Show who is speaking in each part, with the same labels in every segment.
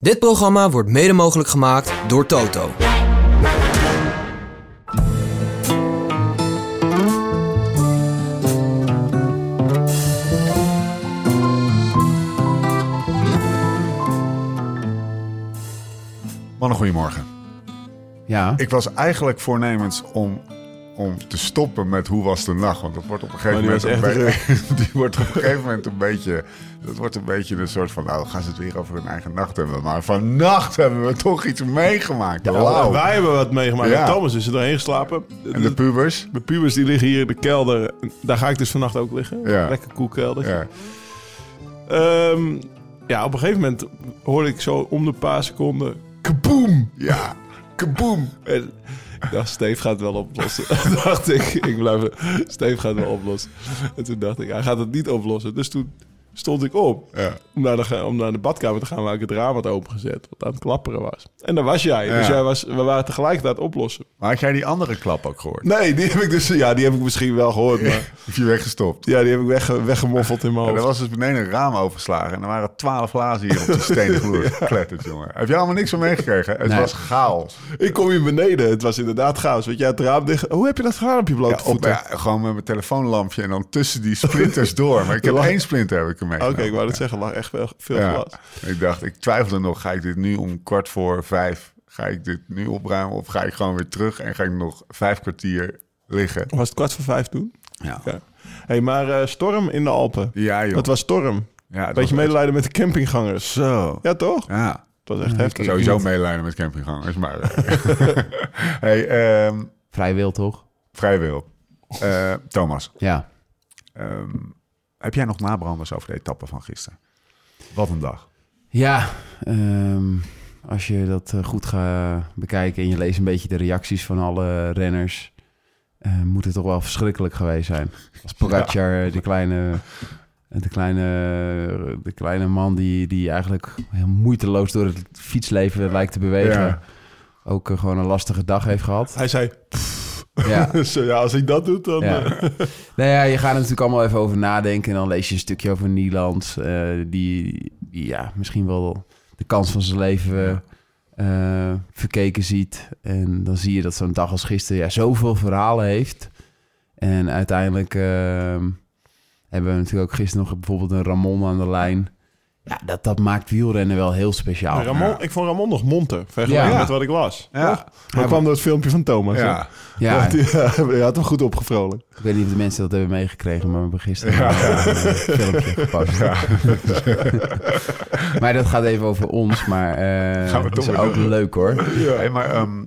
Speaker 1: Dit programma wordt mede mogelijk gemaakt door Toto.
Speaker 2: Mannen, goedemorgen.
Speaker 3: Ja.
Speaker 2: Ik was eigenlijk voornemens om, om te stoppen met hoe was de nacht. Want dat wordt op een gegeven
Speaker 3: Maar
Speaker 2: moment
Speaker 3: Oh, die
Speaker 2: een
Speaker 3: was
Speaker 2: beetje. Die wordt op een gegeven moment een beetje. Dat wordt een beetje een soort van. Nou, gaan ze het weer over hun eigen nacht hebben. Maar vannacht hebben we toch iets meegemaakt. Wauw.
Speaker 3: wij hebben wat meegemaakt.
Speaker 2: Ja.
Speaker 3: Thomas is er doorheen geslapen.
Speaker 2: En de pubers.
Speaker 3: De pubers die liggen hier in de kelder. Daar ga ik dus vannacht ook liggen.
Speaker 2: Ja.
Speaker 3: Lekker koel kelder.
Speaker 2: Ja.
Speaker 3: Ehm, ja, op een gegeven moment hoorde ik zo om de paar seconden... Kaboom!
Speaker 2: ja. Kaboom.
Speaker 3: En ik dacht, Steve gaat het wel oplossen. dacht ik, ik blijf... Steve gaat het wel oplossen. En toen dacht ik, hij gaat het niet oplossen. Dus toen stond ik op
Speaker 2: Ja.
Speaker 3: om naar, de, ga- om naar de badkamer te gaan... waar ik het raam had opengezet, wat aan het klapperen was. En daar was jij. Dus
Speaker 2: Ja.
Speaker 3: jij was, we waren tegelijkertijd aan het oplossen.
Speaker 2: Maar had jij die andere klap ook gehoord?
Speaker 3: Nee, die heb ik dus. Ja, die heb ik misschien wel gehoord. Maar
Speaker 2: Heb je weggestopt?
Speaker 3: ja, die heb ik weg, weggemoffeld in mijn
Speaker 2: Ja,
Speaker 3: hoofd.
Speaker 2: er was dus beneden een raam overgeslagen. En er waren twaalf glazen hier op de stenen vloer gekletterd, jongen. Heb je allemaal niks van meegekregen? Het was chaos.
Speaker 3: Ik kom hier beneden. Het was inderdaad chaos. Weet jij, het raam dicht. Hoe heb je dat gedaan op je blote
Speaker 2: Ja, op,
Speaker 3: voeten?
Speaker 2: ja, gewoon met mijn telefoonlampje en dan tussen die splinters door. Maar ik heb
Speaker 3: Lang-
Speaker 2: één splinter heb ik ermee.
Speaker 3: Oké, ik wou dat zeggen. lag echt veel, veel glas.
Speaker 2: Ik dacht, ik twijfelde nog, ga ik dit nu om kwart voor vijf, ga ik dit nu opruimen of ga ik gewoon weer terug en ga ik nog vijf kwartier liggen?
Speaker 3: Was het kwart voor vijf toen?
Speaker 2: Ja.
Speaker 3: Ja. hey, maar eh, storm in de Alpen.
Speaker 2: Ja, joh.
Speaker 3: Dat was storm.
Speaker 2: Ja, het
Speaker 3: Beetje
Speaker 2: was echt-
Speaker 3: medelijden met de campinggangers.
Speaker 2: Zo.
Speaker 3: Ja, toch?
Speaker 2: Ja.
Speaker 3: Het was echt heftig.
Speaker 2: Sowieso meelijden met campinggangers, maar... eh, hey, ehm,
Speaker 4: Vrij wild, toch?
Speaker 2: vrij wil. Eh, Thomas,
Speaker 4: Ja.
Speaker 2: ehm, heb jij nog nabranders over de etappe van gisteren? Wat een dag.
Speaker 4: Ja, ehm, als je dat eh, goed gaat bekijken en je leest een beetje de reacties van alle renners, eh, moet het toch wel verschrikkelijk geweest zijn. Als Pogacar, eh, de kleine... De kleine, de kleine man die, die eigenlijk heel moeiteloos door het fietsleven lijkt te bewegen.
Speaker 2: Ja.
Speaker 4: Ook eh, gewoon een lastige dag heeft gehad.
Speaker 3: Hij zei,
Speaker 4: Ja.
Speaker 3: zo, ja, als ik dat doe, dan...
Speaker 4: Ja.
Speaker 3: eh,
Speaker 4: Nou ja, je gaat er natuurlijk allemaal even over nadenken. En dan lees je een stukje over Nieland. eh, die, die ja, misschien wel de kans van zijn leven eh, verkeken ziet. En dan zie je dat zo'n dag als gisteren ja, zoveel verhalen heeft. En uiteindelijk eh, hebben we natuurlijk ook gisteren nog bijvoorbeeld een Ramon aan de lijn. Ja, dat, dat maakt wielrennen wel heel speciaal.
Speaker 3: Ramon, ik vond Ramon nog monter, vergeleken
Speaker 4: Ja.
Speaker 3: met wat ik las.
Speaker 2: Ja.
Speaker 3: Toch? Maar kwam door het filmpje van Thomas. hè?
Speaker 2: Ja.
Speaker 4: Ja,
Speaker 3: Ja, je had hem goed opgevrolijk.
Speaker 4: ik weet niet of de mensen dat hebben meegekregen, maar we hebben gisteren een eh, filmpje gepast. maar dat gaat even over ons, maar eh
Speaker 2: Gaan we
Speaker 4: dat is
Speaker 2: toch weer
Speaker 4: ook leuk hoor.
Speaker 2: Hey, maar ehm,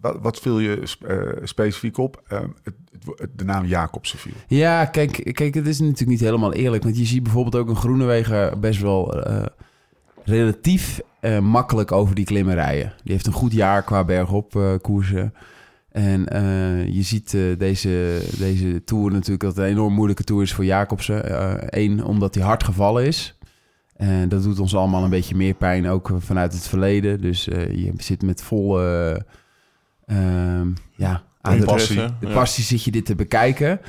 Speaker 2: wat, wat viel je sp- eh, specifiek op? Ehm, het, het wo- het- de naam Jacobsen viel.
Speaker 4: Ja, kijk, kijk, het is natuurlijk niet helemaal eerlijk, want je ziet bijvoorbeeld ook een Groenewegen best wel eh, relatief eh, makkelijk over die klimmen rijden. Die heeft een goed jaar qua bergop eh, koersen. En eh, je ziet eh, deze, deze tour natuurlijk dat het een enorm moeilijke tour is voor Jacobsen. Eén, omdat hij hard gevallen is. En dat doet ons allemaal een beetje meer pijn, ook eh, vanuit het verleden. Dus eh, je zit met volle... eh, ehm, ja, aan de,
Speaker 2: passie.
Speaker 4: de passie zit je dit te bekijken.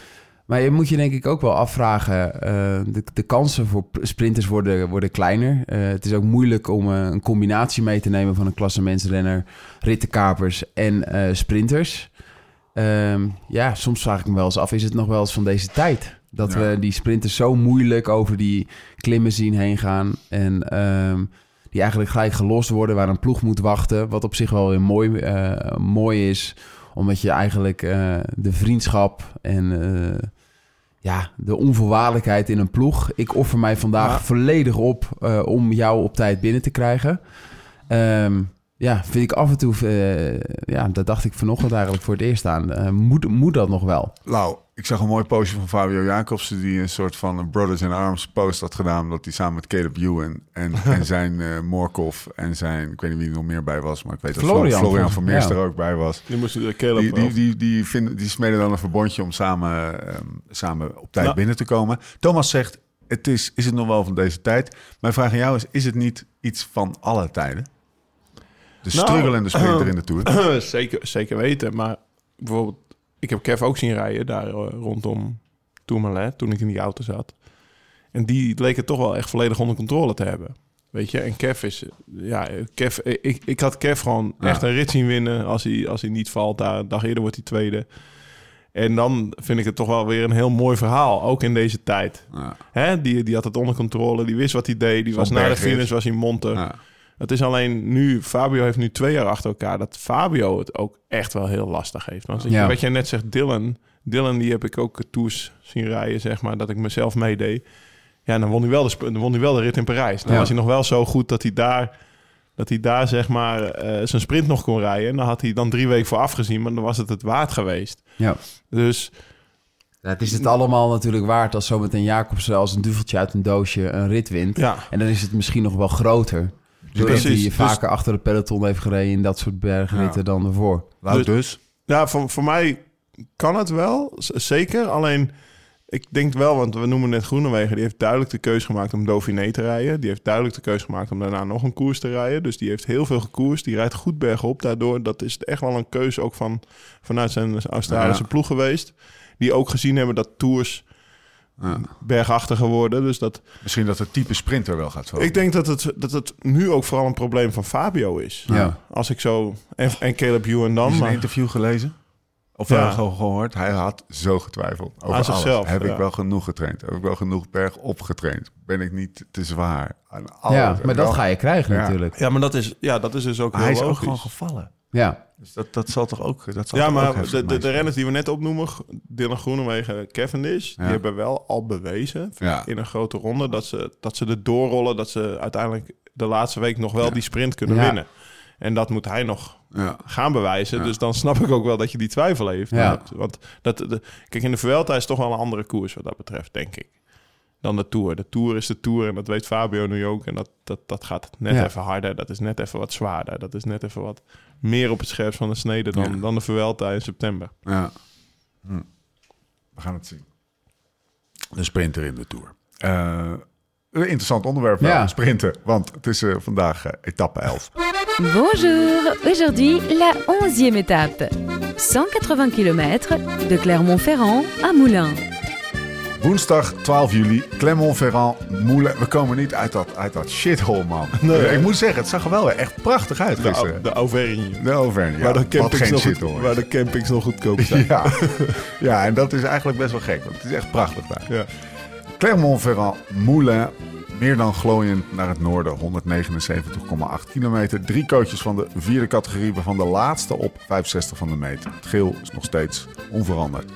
Speaker 4: Maar je moet je denk ik ook wel afvragen. eh, de, de kansen voor p- sprinters worden, worden kleiner. Eh, het is ook moeilijk om eh, een combinatie mee te nemen van een klassementsrenner, rittenkapers en eh, sprinters. Ehm, ja, soms vraag ik me wel eens af, is het nog wel eens van deze tijd? Dat
Speaker 2: Ja.
Speaker 4: we die sprinters zo moeilijk over die klimmen zien heen gaan. En ehm, die eigenlijk gelijk gelost worden, waar een ploeg moet wachten. Wat op zich wel weer mooi, eh, mooi is, omdat je eigenlijk eh, de vriendschap en eh, ja, de onvoorwaardelijkheid in een ploeg. Ik offer mij vandaag
Speaker 3: Ja.
Speaker 4: volledig op eh, om jou op tijd binnen te krijgen. Ehm, ja, vind ik af en toe, eh, ja, daar dacht ik vanochtend eigenlijk voor het eerst aan. Eh, moet, moet dat nog wel?
Speaker 2: Nou, ik zag een mooi postje van Fabio Jacobsen... die een soort van een Brothers in Arms post had gedaan... dat hij samen met Caleb Ewan en, en zijn eh Morkov... en zijn, ik weet niet wie er nog meer bij was... maar ik weet dat Florian,
Speaker 4: Florian,
Speaker 2: Florian van Meers
Speaker 4: ja.
Speaker 2: er ook bij was.
Speaker 3: Die moesten de Caleb
Speaker 2: Die, die, die, die, vinden, die smeden dan een verbondje om samen, ehm, samen op tijd
Speaker 3: Nou.
Speaker 2: binnen te komen. Thomas zegt, het is, is het nog wel van deze tijd? Mijn vraag aan jou is, is het niet iets van alle tijden? De
Speaker 3: Nou,
Speaker 2: struggelende sprinter in de Tour.
Speaker 3: zeker, zeker weten. Maar bijvoorbeeld, ik heb Kev ook zien rijden daar eh, rondom Tourmalet, toen ik in die auto zat. En die leek het toch wel echt volledig onder controle te hebben. Weet je, en Kev is... Ja, Kev, eh, ik, ik had Kev gewoon
Speaker 2: Ja.
Speaker 3: echt een rit zien winnen als hij, als hij niet valt. Daar, een dag eerder wordt hij tweede. En dan vind ik het toch wel weer een heel mooi verhaal, ook in deze tijd.
Speaker 2: Ja.
Speaker 3: Hè? Die, die had het onder controle, die wist wat hij deed. Die was na de
Speaker 2: bergrit.
Speaker 3: finish, was hij monter.
Speaker 2: Ja.
Speaker 3: Het is alleen nu, Fabio heeft nu twee jaar achter elkaar, dat Fabio het ook echt wel heel lastig heeft. Want
Speaker 4: Ja.
Speaker 3: wat jij net zegt, Dylan, Dylan die heb ik ook tours zien rijden, zeg maar, dat ik mezelf meedeed. Ja, dan won hij wel de, sp- dan won hij wel de rit in Parijs. Dan
Speaker 4: Ja.
Speaker 3: was hij nog wel zo goed dat hij daar, dat hij daar zeg maar, eh, zijn sprint nog kon rijden. En dan had hij dan drie weken voor afgezien, maar dan was het het waard geweest.
Speaker 4: Ja.
Speaker 3: Dus
Speaker 4: Ja, Het is het allemaal natuurlijk waard als zometeen Jacobsen als een duveltje uit een doosje een rit wint.
Speaker 3: ja,
Speaker 4: En dan is het misschien nog wel groter. Doordat
Speaker 3: precies.
Speaker 4: hij
Speaker 3: Dus-
Speaker 4: vaker achter de peloton heeft gereden in dat soort bergritten dan ervoor.
Speaker 2: Wout dus.
Speaker 3: Ja, voor, voor mij kan het wel, z- zeker. Alleen, ik denk wel, want we noemen net Groenewegen... die heeft duidelijk de keuze gemaakt om Dauphiné te rijden. Die heeft duidelijk de keuze gemaakt om daarna nog een koers te rijden. Dus die heeft heel veel gekoerst. Die rijdt goed bergop. Daardoor, dat is echt wel een keuze ook van, vanuit zijn Australische
Speaker 2: Ja.
Speaker 3: ploeg geweest. Die ook gezien hebben dat Tours
Speaker 2: Ja.
Speaker 3: bergachtiger worden. Dus dat,
Speaker 2: Misschien dat het type sprinter wel gaat zo.
Speaker 3: ik denk dat het, dat het nu ook vooral een probleem van Fabio is.
Speaker 4: Ja.
Speaker 3: Als ik zo... En, en Caleb Ewan
Speaker 2: Heb
Speaker 3: dan,
Speaker 2: je zijn
Speaker 3: maar...
Speaker 2: interview gelezen? Of
Speaker 3: Ja.
Speaker 2: ja. gehoord? Hij had zo getwijfeld over
Speaker 3: Aan
Speaker 2: alles.
Speaker 3: zichzelf,
Speaker 2: Heb
Speaker 3: ja.
Speaker 2: ik wel genoeg getraind? Heb ik wel genoeg berg opgetraind? Ben ik niet te zwaar? Aan alles.
Speaker 4: ja,
Speaker 2: Heb
Speaker 4: maar
Speaker 2: ik
Speaker 4: dat
Speaker 2: wel-
Speaker 4: ga je krijgen
Speaker 2: Ja.
Speaker 4: natuurlijk.
Speaker 3: Ja, maar dat is, ja, dat is dus ook
Speaker 2: Maar
Speaker 3: heel
Speaker 2: Hij is ook
Speaker 3: logisch.
Speaker 2: gewoon gevallen.
Speaker 4: Ja,
Speaker 2: Dus dat, dat zal toch ook... Dat zal
Speaker 3: Ja,
Speaker 2: toch ook
Speaker 3: maar
Speaker 2: heftig
Speaker 3: de, de,
Speaker 2: mee
Speaker 3: de
Speaker 2: zijn?
Speaker 3: renners die we net opnoemen, G- Dylan Groenewegen en Cavendish, die
Speaker 2: Ja.
Speaker 3: hebben wel al bewezen
Speaker 2: Ja.
Speaker 3: in een grote ronde dat ze, dat ze er doorrollen, dat ze uiteindelijk de laatste week nog wel die sprint kunnen
Speaker 4: Ja.
Speaker 3: winnen. En dat moet hij nog
Speaker 2: Ja.
Speaker 3: gaan bewijzen.
Speaker 2: Ja.
Speaker 3: Dus dan snap ik ook wel dat je die twijfel heeft.
Speaker 4: Ja.
Speaker 3: Want- Want dat, de- kijk, in de Vuelta is toch wel een andere koers wat dat betreft, denk ik. Dan de Tour. De Tour is de Tour en dat weet Fabio nu ook. En dat, dat, dat gaat net
Speaker 4: Ja.
Speaker 3: even harder. Dat is net even wat zwaarder. Dat is net even wat meer op het scherp van de snede dan,
Speaker 2: Ja.
Speaker 3: dan de Vuelta in september.
Speaker 2: Ja. Hm. We gaan het zien. De sprinter in de Tour. Eh, een interessant onderwerp wel,
Speaker 4: Ja.
Speaker 2: sprinten. Want het is eh, vandaag eh, etappe 11.
Speaker 5: Bonjour, aujourd'hui la onzième étape. 180 km de Clermont-Ferrand à Moulins.
Speaker 2: Woensdag 12 juli, Clermont-Ferrand, Moulin. We komen niet uit dat, uit dat shithole, man. Ik moet zeggen, het zag er wel weer echt prachtig uit
Speaker 3: De,
Speaker 2: gisteren.
Speaker 3: Nou, de Auvergne.
Speaker 2: De Auvergne, ja,
Speaker 3: waar, de
Speaker 2: wat
Speaker 3: campings
Speaker 2: geen
Speaker 3: nog,
Speaker 2: shithole is.
Speaker 3: waar de campings nog goedkoop zijn.
Speaker 2: Ja. ja, en dat is eigenlijk best wel gek, want het is echt prachtig daar.
Speaker 3: Ja.
Speaker 2: Clermont-Ferrand, Moulin. Meer dan glooiend naar het noorden, 179,8 kilometer. Drie coaches van de vierde categorie, waarvan de laatste op 65 van de meter. Het geel is nog steeds onveranderd.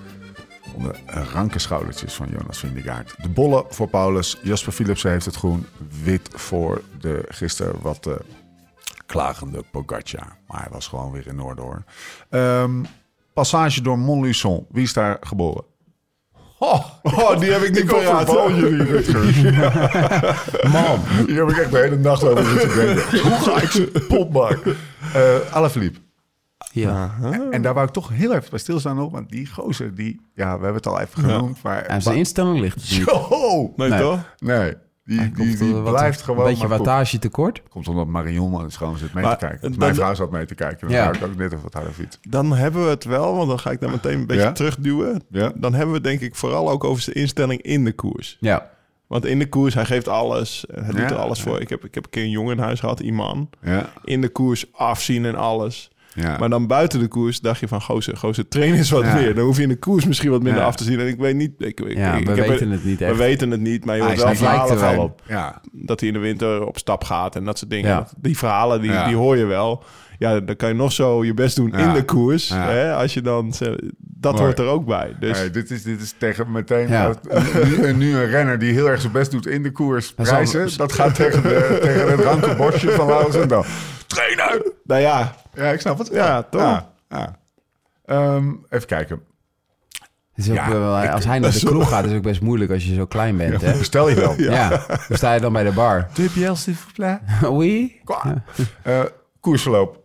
Speaker 2: Onder ranke schoudertjes van Jonas Vindegaard. De bollen voor Paulus. Jasper Philipsen heeft het groen. Wit voor de gisteren wat eh, klagende Pogacar. Maar hij was gewoon weer in orde hoor. Ehm, passage door Montluçon. Wie is daar geboren?
Speaker 3: Oh, die heb ik niet paraat.
Speaker 2: jullie, Man. Hier heb ik echt de hele nacht over zitten denken. Hoe ga ik ze pop maken? Ah. Eh Alaphilippe.
Speaker 4: ja.
Speaker 2: En, en daar wou ik toch heel even bij stilstaan op. Want die gozer, die... Ja, we hebben het al even genoemd, maar...
Speaker 4: En zijn instelling ligt er niet.
Speaker 2: Zo!
Speaker 3: Nee,
Speaker 4: Nee.
Speaker 3: toch?
Speaker 2: Nee, die, die,
Speaker 4: Komt er
Speaker 2: die
Speaker 4: wat-
Speaker 2: blijft gewoon...
Speaker 4: Een beetje
Speaker 2: maar komt,
Speaker 4: wattage tekort.
Speaker 2: komt omdat Marion aan het schoon zit mee
Speaker 3: Maar,
Speaker 2: te kijken.
Speaker 3: eh,
Speaker 2: Mijn
Speaker 3: dan-
Speaker 2: vrouw zat mee te kijken. Dan
Speaker 4: Ja.
Speaker 2: wou ik ook net even wat harder fietsen.
Speaker 3: Dan hebben we het wel, want dan ga ik daar meteen een beetje
Speaker 2: Ja?
Speaker 3: terugduwen.
Speaker 2: Ja.
Speaker 3: Dan hebben we het denk ik vooral ook over zijn instelling in de koers.
Speaker 4: Ja,
Speaker 3: Want in de koers, hij geeft alles. Hij doet
Speaker 2: Ja.
Speaker 3: er alles voor. Ik heb, ik heb een keer een jongen in huis gehad, Iman.
Speaker 2: Ja,
Speaker 3: In de koers, afzien en alles.
Speaker 2: ja.
Speaker 3: Maar dan buiten de koers dacht je van, gozer, gozer, train is wat
Speaker 2: Ja.
Speaker 3: meer. Dan hoef je in de koers misschien wat minder
Speaker 2: Ja.
Speaker 3: af te zien. En ik weet niet... Ik, ik,
Speaker 4: ja
Speaker 3: ik,
Speaker 4: we
Speaker 3: ik heb
Speaker 4: weten
Speaker 3: er-
Speaker 4: het niet
Speaker 3: We
Speaker 4: echt.
Speaker 3: weten het niet, maar je
Speaker 2: Hij
Speaker 3: hoort
Speaker 2: is
Speaker 3: wel
Speaker 2: niet-
Speaker 4: lijkt
Speaker 3: verhalen
Speaker 4: er wel
Speaker 3: van-
Speaker 4: op.
Speaker 2: Ja,
Speaker 3: dat hij in de winter op stap gaat en dat soort dingen.
Speaker 4: Ja.
Speaker 3: Dat- Die verhalen, die,
Speaker 2: Ja.
Speaker 3: die hoor je wel. Ja, dan kan je nog zo je best doen
Speaker 2: Ja.
Speaker 3: in de koers.
Speaker 2: Ja.
Speaker 3: Hè? Als je dan, ze- dat
Speaker 2: Mooi.
Speaker 3: hoort er ook bij. Dus
Speaker 2: Nee, dit, is, dit is tegen meteen.
Speaker 4: Ja.
Speaker 2: dat- nu, nu een renner die heel erg zijn best doet in de koers.
Speaker 4: zal-
Speaker 2: Prijzen, dat gaat tegen, de, tegen het ranke bosje van Laurens en Dam.
Speaker 3: train uit! Nou ja,
Speaker 2: Ja, ik snap het.
Speaker 3: Ja, toch?
Speaker 2: Ja, ja. Ehm, even kijken.
Speaker 4: Het is ook,
Speaker 2: Ja,
Speaker 4: eh, als hij naar de kroeg gaat, is het ook best moeilijk als je zo klein bent. Hè?
Speaker 2: Bestel je wel.
Speaker 4: Ja, dan sta je dan bij de bar.
Speaker 2: DPL, s'il vous plaît.
Speaker 4: Oui?
Speaker 2: Kwa. Eh, koersverloop.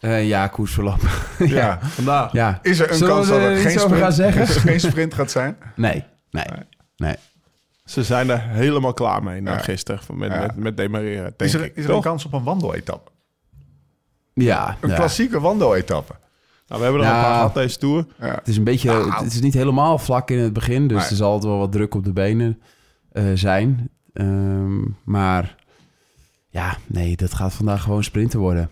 Speaker 4: Eh, ja, koersverloop.
Speaker 2: Ja.
Speaker 3: vandaag.
Speaker 4: Ja.
Speaker 2: Ah, Is er een
Speaker 4: Zullen
Speaker 2: kans
Speaker 4: we
Speaker 2: dat
Speaker 4: er
Speaker 2: het
Speaker 4: iets
Speaker 2: geen
Speaker 4: over gaan
Speaker 2: sprint,
Speaker 4: zeggen?
Speaker 2: geen sprint gaat zijn?
Speaker 4: Nee, nee, nee.
Speaker 3: Ze zijn er helemaal klaar mee na
Speaker 2: Ja.
Speaker 3: gisteren van met,
Speaker 2: Ja.
Speaker 3: met, met demareren, denk
Speaker 2: Is er,
Speaker 3: ik.
Speaker 2: is er een
Speaker 3: toch?
Speaker 2: kans op een wandeletappe?
Speaker 4: Ja,
Speaker 2: Een
Speaker 4: ja.
Speaker 2: klassieke wandeletappe.
Speaker 3: Nou, we hebben er al
Speaker 4: Ja.
Speaker 3: een paar gehad deze Tour.
Speaker 4: het is een beetje, het is niet helemaal vlak in het begin, dus
Speaker 2: Nee.
Speaker 4: er zal altijd wel wat druk op de benen eh, zijn. Ehm, maar ja, nee, dat gaat vandaag gewoon sprinten worden.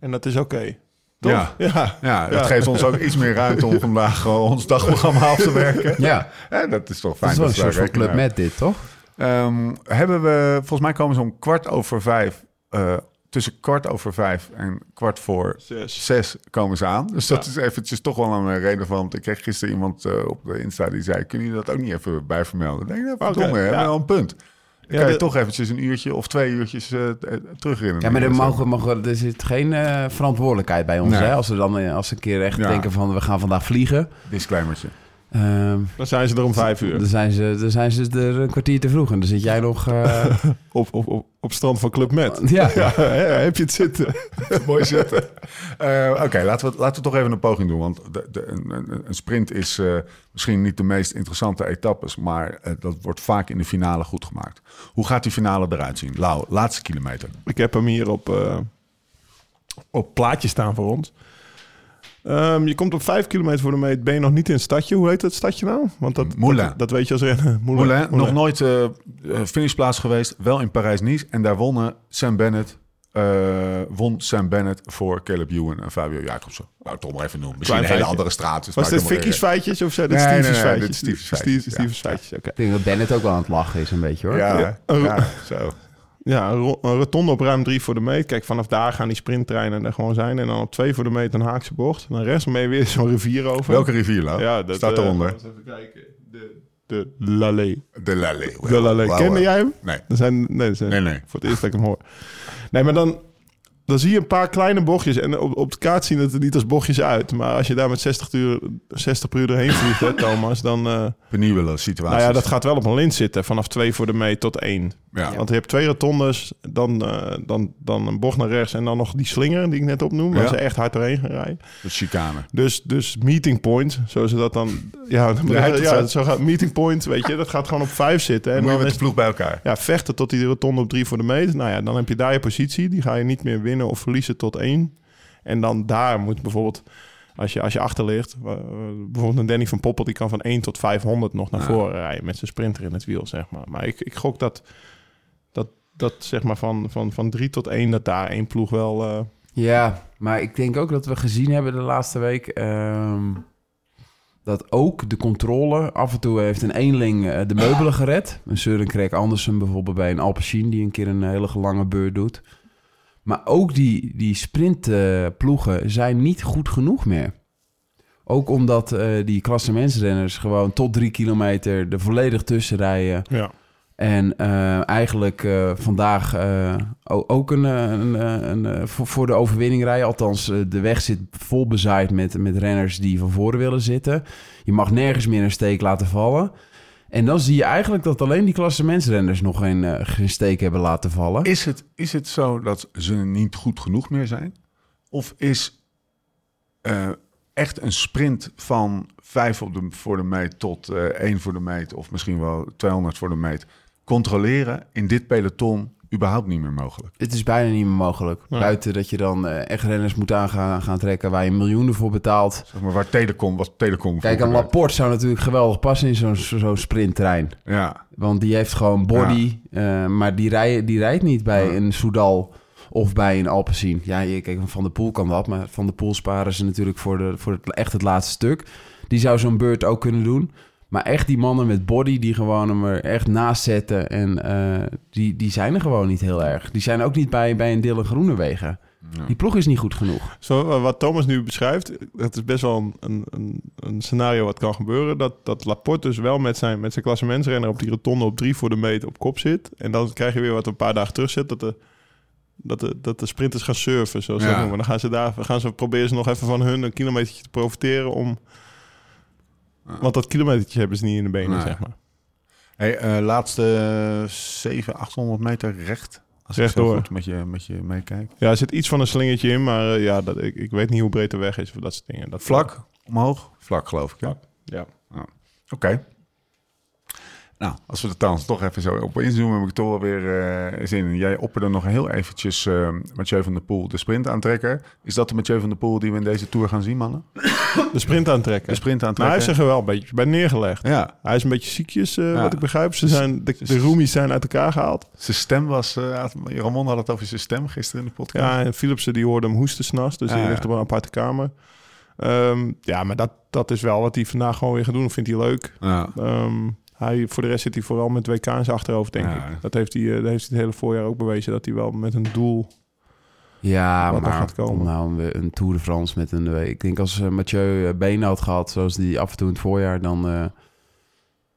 Speaker 3: En dat is oké. Toch?
Speaker 2: Ja.
Speaker 3: ja.
Speaker 2: Ja, dat geeft ons ook iets meer ruimte om vandaag eh, ons dagprogramma af te werken.
Speaker 4: Ja,
Speaker 2: Hè, dat is toch
Speaker 4: dat
Speaker 2: fijn.
Speaker 4: is wel een
Speaker 2: dat we daar
Speaker 4: soort van
Speaker 2: rekening
Speaker 4: club
Speaker 2: mee
Speaker 4: met dit, toch?
Speaker 2: Ehm, hebben we, volgens mij komen ze om kwart over vijf, eh, tussen kwart over vijf en kwart voor
Speaker 3: Zes.
Speaker 2: zes komen ze aan. Dus dat
Speaker 3: Ja.
Speaker 2: is eventjes toch wel een eh, relevant. Ik kreeg gisteren iemand eh, op de Insta die zei, kunnen jullie dat ook niet even bijvermelden? Ik denk, nou, verdomme,
Speaker 3: Oké,
Speaker 2: hebben we
Speaker 3: ja.
Speaker 2: wel een punt. Dan kan je
Speaker 3: dat-
Speaker 2: toch eventjes een uurtje of twee uurtjes eh, t- eh, terugrennen.
Speaker 4: Ja, maar er, mogen, mogen, er zit geen eh, verantwoordelijkheid bij ons.
Speaker 2: Nee.
Speaker 4: Hè? Als we dan eh, als ze een keer echt
Speaker 2: Ja.
Speaker 4: denken van we gaan vandaag vliegen.
Speaker 2: Disclaimertje.
Speaker 4: ehm,
Speaker 3: Dan zijn ze er om vijf uur.
Speaker 2: Dus-
Speaker 4: dan, zijn ze, dan zijn ze er een kwartier te vroeg en dan zit jij nog... eh,
Speaker 3: Op, op, op, op strand van Club Med.
Speaker 4: ja.
Speaker 3: Ja, hè, heb je het zitten?
Speaker 2: Mooi zitten. Eh, Oké, laten, we, laten we toch even een poging doen. Want de, de, een, een- een sprint is eh, misschien niet de meest interessante etappes. Maar eh, dat wordt vaak in de finale goed gemaakt. Hoe gaat die finale eruit zien? Lau, laatste kilometer.
Speaker 3: Ik heb hem hier op, eh, op plaatje staan voor ons. Ehm, je komt op vijf kilometer voor de meet. Ben je nog niet in het stadje? Hoe heet dat stadje nou? Want dat,
Speaker 2: Moulin.
Speaker 3: dat, dat weet je als renner. Moulin.
Speaker 2: Moulin,
Speaker 3: Moulin.
Speaker 2: nog nooit eh, eh, finishplaats geweest. Wel in Parijs-Nice. En daar wonnen Sam Bennett. eh, won Sam Bennett voor Caleb Ewan en Fabio Jacobsen. Nou, toch maar even noemen. Misschien een hele
Speaker 3: feitje.
Speaker 2: andere straat. dus
Speaker 3: Was
Speaker 2: maakt
Speaker 3: dit
Speaker 2: helemaal
Speaker 3: Vicky's
Speaker 2: geen
Speaker 3: feitjes of zijn dit
Speaker 2: Nee, nee,
Speaker 3: Stevie's
Speaker 2: nee,
Speaker 3: feitjes?
Speaker 2: dit is Stevie's
Speaker 3: Steve-
Speaker 2: feitjes, ja.
Speaker 3: Stevie's feitjes, oké.
Speaker 4: Ik denk dat Bennett ook wel aan het lachen is een beetje hoor.
Speaker 2: reet.
Speaker 3: Ja.
Speaker 2: Ja, Oh.
Speaker 3: Een-
Speaker 2: ja, zo.
Speaker 3: Ja, een ro- een rotonde op ruim 3 voor de meet. Kijk, vanaf daar gaan die sprinttreinen er gewoon zijn. En dan op 2 voor de meet een haakse bocht. En dan rechts mee weer zo'n rivier over.
Speaker 2: Welke rivier, Lau?
Speaker 3: Ja, dat,
Speaker 2: Staat
Speaker 3: eh,
Speaker 2: eronder.
Speaker 3: eens even kijken. De, de Lallee.
Speaker 2: De Lally.
Speaker 3: De Lallee. Kende jij hem?
Speaker 2: Nee.
Speaker 3: Er zijn, nee, er zijn-
Speaker 2: Nee, nee.
Speaker 3: Voor het eerst dat ik hem hoor. Nee, maar dan, dan zie je een paar kleine bochtjes. En op, op de kaart zien het er niet als bochtjes uit. Maar als je daar met 60, uur, 60 per uur doorheen vliegt, hè, Thomas, dan... eh,
Speaker 2: Penibele situatie.
Speaker 3: nou ja, dat gaat wel op een lint zitten. Vanaf 2 voor de meet tot 1.
Speaker 2: Ja.
Speaker 3: Want je hebt twee rotondes, dan, eh, dan, dan een bocht naar rechts en dan nog die slinger die ik net opnoem, waar
Speaker 2: Ja.
Speaker 3: ze echt hard doorheen gaan rijden.
Speaker 2: De chicane.
Speaker 3: Dus, dus meeting point, zo ze dat dan... Ja, maar
Speaker 2: Ja,
Speaker 3: dat-
Speaker 2: dat
Speaker 3: ja,
Speaker 2: gaat-
Speaker 3: zo gaat meeting point, weet je, dat gaat gewoon op vijf zitten.
Speaker 2: En
Speaker 3: En
Speaker 2: moet je
Speaker 3: dan
Speaker 2: met
Speaker 3: is
Speaker 2: de ploeg bij elkaar.
Speaker 3: ja, vechten tot die rotonde op drie voor de meet. Nou ja, dan heb je daar je positie. Die ga je niet meer winnen of verliezen tot één. En dan daar moet bijvoorbeeld, als je, als je achter ligt... eh, bijvoorbeeld een Danny van Poppel, die kan van 1 tot 500 nog naar
Speaker 2: Ja.
Speaker 3: voren rijden... met zijn sprinter in het wiel, zeg maar. Maar ik, ik gok dat, dat, dat zeg maar van, van, van 3 tot 1, dat daar één ploeg wel... eh,
Speaker 4: Ja, maar ik denk ook dat we gezien hebben de laatste week... ehm, dat ook de controle... Af en toe heeft een eenling eh, de meubelen gered. Een Søren Krek Andersen bijvoorbeeld bij een Alpecin... die een keer een eh, hele lange beurt doet. Maar ook die, die sprintploegen zijn niet goed genoeg meer. Ook omdat eh die klassementsrenners gewoon tot drie kilometer er volledig tussen rijden...
Speaker 3: ja.
Speaker 4: En eh, eigenlijk eh, vandaag eh, o- ook een, eh, een, eh, een, eh, voor, voor de overwinning rijden. Althans, eh, de weg zit vol bezaaid met, met renners die van voren willen zitten. Je mag nergens meer een steek laten vallen. En dan zie je eigenlijk dat alleen die klassementsrenners nog geen, eh, geen steek hebben laten vallen.
Speaker 2: Is het, is het zo dat ze niet goed genoeg meer zijn? Of is eh, echt een sprint van vijf op de, voor de meet tot eh, één voor de meet... of misschien wel 200 voor de meet... controleren in dit peloton überhaupt niet meer mogelijk?
Speaker 4: Het is bijna niet meer mogelijk.
Speaker 3: Nee.
Speaker 4: Buiten dat je dan eh, echt renners moet aan gaan, gaan trekken waar je miljoenen voor betaalt.
Speaker 2: Zeg maar waar Telecom, wat Telecom
Speaker 4: Kijk, een
Speaker 2: vroeger deed.
Speaker 4: Laporte zou natuurlijk geweldig passen in zo'n zo'n sprinttrein.
Speaker 2: Ja,
Speaker 4: Want die heeft gewoon body. eh, maar die, rij, die rijdt niet bij
Speaker 2: Ja.
Speaker 4: een Soudal of bij een Alpecin. Ja, je, kijk, Van der Poel kan dat. Maar Van der Poel sparen ze natuurlijk voor, de, voor het, echt het laatste stuk. Die zou zo'n beurt ook kunnen doen. Maar echt die mannen met body die gewoon hem er echt naast zetten. En eh, die, die zijn er gewoon niet heel erg. Die zijn ook niet bij, bij een Dille Groenewegen. Die ploeg is niet goed genoeg.
Speaker 3: Zo, eh, wat Thomas nu beschrijft, dat is best wel een- een, een, een scenario wat kan gebeuren. Dat, dat Laporte dus wel met zijn, met zijn klassementsrenner op die rotonde op drie voor de meet op kop zit. En dan krijg je weer wat een paar dagen terug zit, dat de, dat de, dat de sprinters gaan surfen, zoals ze
Speaker 2: Ja.
Speaker 3: dat noemen. Dan gaan ze, daar, gaan ze proberen ze nog even van hun een kilometertje te profiteren om... Want dat kilometertje hebben ze niet in de benen,
Speaker 2: Nee.
Speaker 3: zeg maar.
Speaker 2: Hey, eh, laatste 700, 800 meter recht. Als ik
Speaker 3: Rechtdoor.
Speaker 2: zo goed met je, met je meekijk.
Speaker 3: Ja, er zit iets van een slingertje in, maar eh, ja, dat, ik, ik weet niet hoe breed de weg is voor dat soort dingen. Dat,
Speaker 2: Vlak, omhoog. Vlak, geloof ik. Ja.
Speaker 3: Ja.
Speaker 2: Oké. Nou, als we de taal toch even zo op inzoomen, heb ik toch wel weer eh, zin in. Jij opperde nog heel eventjes eh, Mathieu van der Poel de sprint aantrekken. Is dat de Mathieu van der Poel die we in deze Tour gaan zien, mannen?
Speaker 3: De sprint aantrekken.
Speaker 2: De sprint
Speaker 3: nou, hij
Speaker 2: aantrekken?
Speaker 3: is er wel een beetje bij neergelegd.
Speaker 2: Ja,
Speaker 3: Hij is een beetje ziekjes, eh,
Speaker 2: Ja. Dus-
Speaker 3: wat ik begrijp. Ze zijn, de, de roomies zijn uit elkaar gehaald.
Speaker 2: zijn stem was... eh, Ramon had het over zijn stem gisteren in de podcast.
Speaker 3: Ja, en Philipsen die hoorde hem hoesten s'nachts, dus
Speaker 2: Ja,
Speaker 3: die
Speaker 2: ja.
Speaker 3: ligt op een aparte kamer. Ehm, ja, maar dat, dat is wel wat hij vandaag gewoon weer gaat doen. Vindt hij leuk.
Speaker 2: Ja.
Speaker 3: Ehm, hij, voor de rest zit hij vooral met WK in zijn achterhoofd, denk
Speaker 2: Ja.
Speaker 3: ik. Dat heeft, hij, eh, dat heeft hij het hele voorjaar ook bewezen, dat hij wel met een doel...
Speaker 4: Ja,
Speaker 3: Wat er
Speaker 4: maar
Speaker 3: gaat komen.
Speaker 4: om nou een, een Tour de France met een... eh, Ik denk als eh, Mathieu eh, benen had gehad, zoals die af en toe in het voorjaar, dan, eh,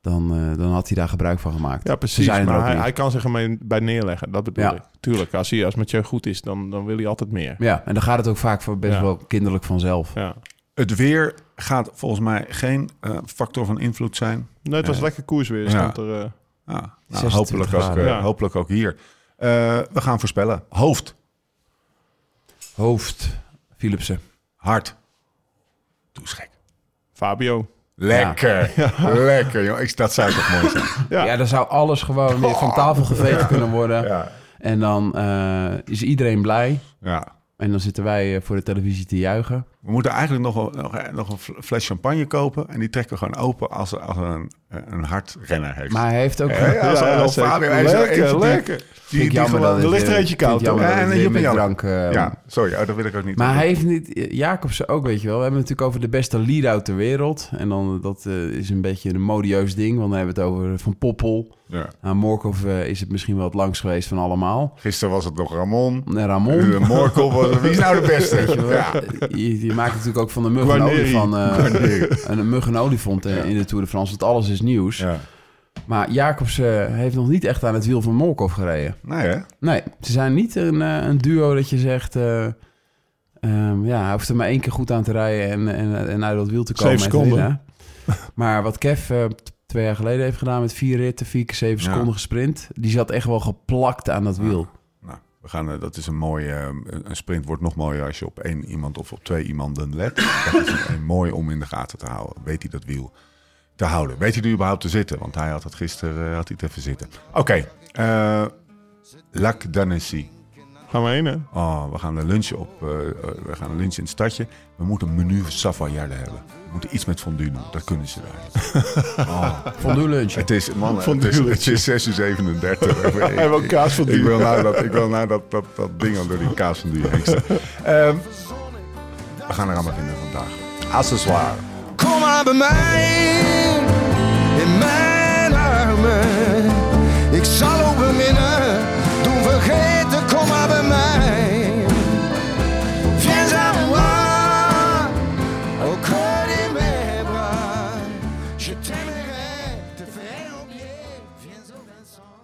Speaker 4: dan, eh, dan had hij daar gebruik van gemaakt.
Speaker 3: Ja, precies.
Speaker 4: zijn er
Speaker 3: Maar
Speaker 4: ook
Speaker 3: hij,
Speaker 4: niet.
Speaker 3: hij kan zich ermee bij neerleggen, dat bedoel
Speaker 4: Ja.
Speaker 3: ik. Tuurlijk, als, hij, als Mathieu goed is, dan, dan wil hij altijd meer.
Speaker 4: Ja, en dan gaat het ook vaak voor best
Speaker 3: Ja.
Speaker 4: wel kinderlijk vanzelf.
Speaker 3: Ja.
Speaker 2: Het weer gaat volgens mij geen eh, factor van invloed zijn.
Speaker 3: Nee, het was
Speaker 2: Ja.
Speaker 3: lekker koers weer.
Speaker 2: Ja.
Speaker 3: Stond er, eh,
Speaker 2: Ja, nou,
Speaker 4: 26
Speaker 2: hopelijk, ook, eh,
Speaker 4: graden.
Speaker 3: Ja.
Speaker 2: hopelijk ook hier. Eh, we gaan voorspellen. Hoofd,
Speaker 4: Hoofd, Philipsen.
Speaker 2: hart. Doe eens gek.
Speaker 3: Fabio.
Speaker 2: Lekker. Lekker, joh. Ik, dat zou toch mooi zijn.
Speaker 3: Ja.
Speaker 4: Ja, dan zou alles gewoon weer van tafel geveegd kunnen worden.
Speaker 2: Ja.
Speaker 4: En dan eh, is iedereen blij.
Speaker 2: ja.
Speaker 4: En dan zitten wij eh, voor de televisie te juichen.
Speaker 2: We moeten eigenlijk nog, een- nog, een- nog een fl- fles champagne kopen. En die trekken we gewoon open als, als een, een hardrenner heeft.
Speaker 4: Maar hij heeft ook...
Speaker 2: Hè, als
Speaker 3: Ja,
Speaker 2: een
Speaker 3: ja,
Speaker 2: Fabio,
Speaker 3: zeker.
Speaker 2: hij is er
Speaker 3: Lekker,
Speaker 2: eentje die-
Speaker 3: lekker.
Speaker 2: Die, die gewoon-
Speaker 3: dat- er ligt er eentje koud,
Speaker 4: Ja,
Speaker 2: toch? Ja, en een
Speaker 4: en je
Speaker 2: jip en
Speaker 4: met
Speaker 2: jammer.
Speaker 4: drank... eh,
Speaker 2: ja, sorry. Oh, dat wil ik ook niet.
Speaker 4: Maar hij heeft niet... Jacobsen ook, weet je wel. We hebben het natuurlijk over de beste lead-out ter wereld. En dan, dat eh, is een beetje een modieus ding. Want dan hebben we het over Van Poppel.
Speaker 2: Ja.
Speaker 4: Aan Morkov eh, is het misschien wel het langst geweest van allemaal.
Speaker 2: Gisteren was het nog Ramon.
Speaker 4: En Ramon.
Speaker 2: De Morkel was Wie is nou de
Speaker 4: Weet je,
Speaker 2: beste?
Speaker 4: wel.
Speaker 2: Eh,
Speaker 4: Eh,
Speaker 2: Ja.
Speaker 4: je, je maakt natuurlijk ook van de mug een
Speaker 3: Guarneri.
Speaker 4: olifant, eh,
Speaker 2: Guarneri.
Speaker 4: een mug en olifant eh,
Speaker 2: Ja.
Speaker 4: in de Tour de France, want alles is nieuws.
Speaker 2: ja.
Speaker 4: Maar Jacobs eh, heeft nog niet echt aan het wiel van Molkov gereden.
Speaker 2: Nou ja.
Speaker 4: Nee, ze zijn niet een, eh, een duo dat je zegt... eh, ehm, ja, hij hoeft er maar één keer goed aan te rijden en, en, en uit dat wiel te komen. en
Speaker 3: Zeven
Speaker 4: te
Speaker 3: seconden.
Speaker 4: winnen. Maar wat Kev eh, t- twee jaar geleden heeft gedaan met vier ritten, vier keer zeven
Speaker 2: Ja.
Speaker 4: seconden gesprint... die zat echt wel geplakt aan dat wiel.
Speaker 2: Nou, we gaan, eh, dat is een mooie. eh, Een een sprint wordt nog mooier als je op één iemand of op twee iemanden let. Dat is een, een mooi om in de gaten te houden. Weet hij dat wiel te houden? Weet hij er überhaupt te zitten? Want hij had het gisteren eh, had hij het even zitten. Oké. eh, Lac d'Annecy.
Speaker 3: Gaan we heen, hè?
Speaker 2: Oh, we gaan lunchen op. eh, eh, we gaan lunchen in het stadje. We moeten een menu Savoyarde hebben. We moeten iets met fondue doen. Dat kunnen ze daar. Oh,
Speaker 4: Fondue lunch.
Speaker 2: het is, man, het
Speaker 3: Fondue
Speaker 2: is, het
Speaker 3: lunchen.
Speaker 2: is 6 uur 37. Ik-
Speaker 3: Hij wil kaas van
Speaker 2: ik wil naar dat, ik wil naar dat, dat, dat ding al door die kaas van die heen staan. Ehm, we gaan er aan beginnen vandaag. Accessoire.
Speaker 6: Kom maar bij mij, in mijn armen. Ik zal ook beminnen, doen vergeten, kom maar bij mij. Viens à moi, au creux de mes bras. Je t'aimerai, te ferai oublier, viens au Vincent.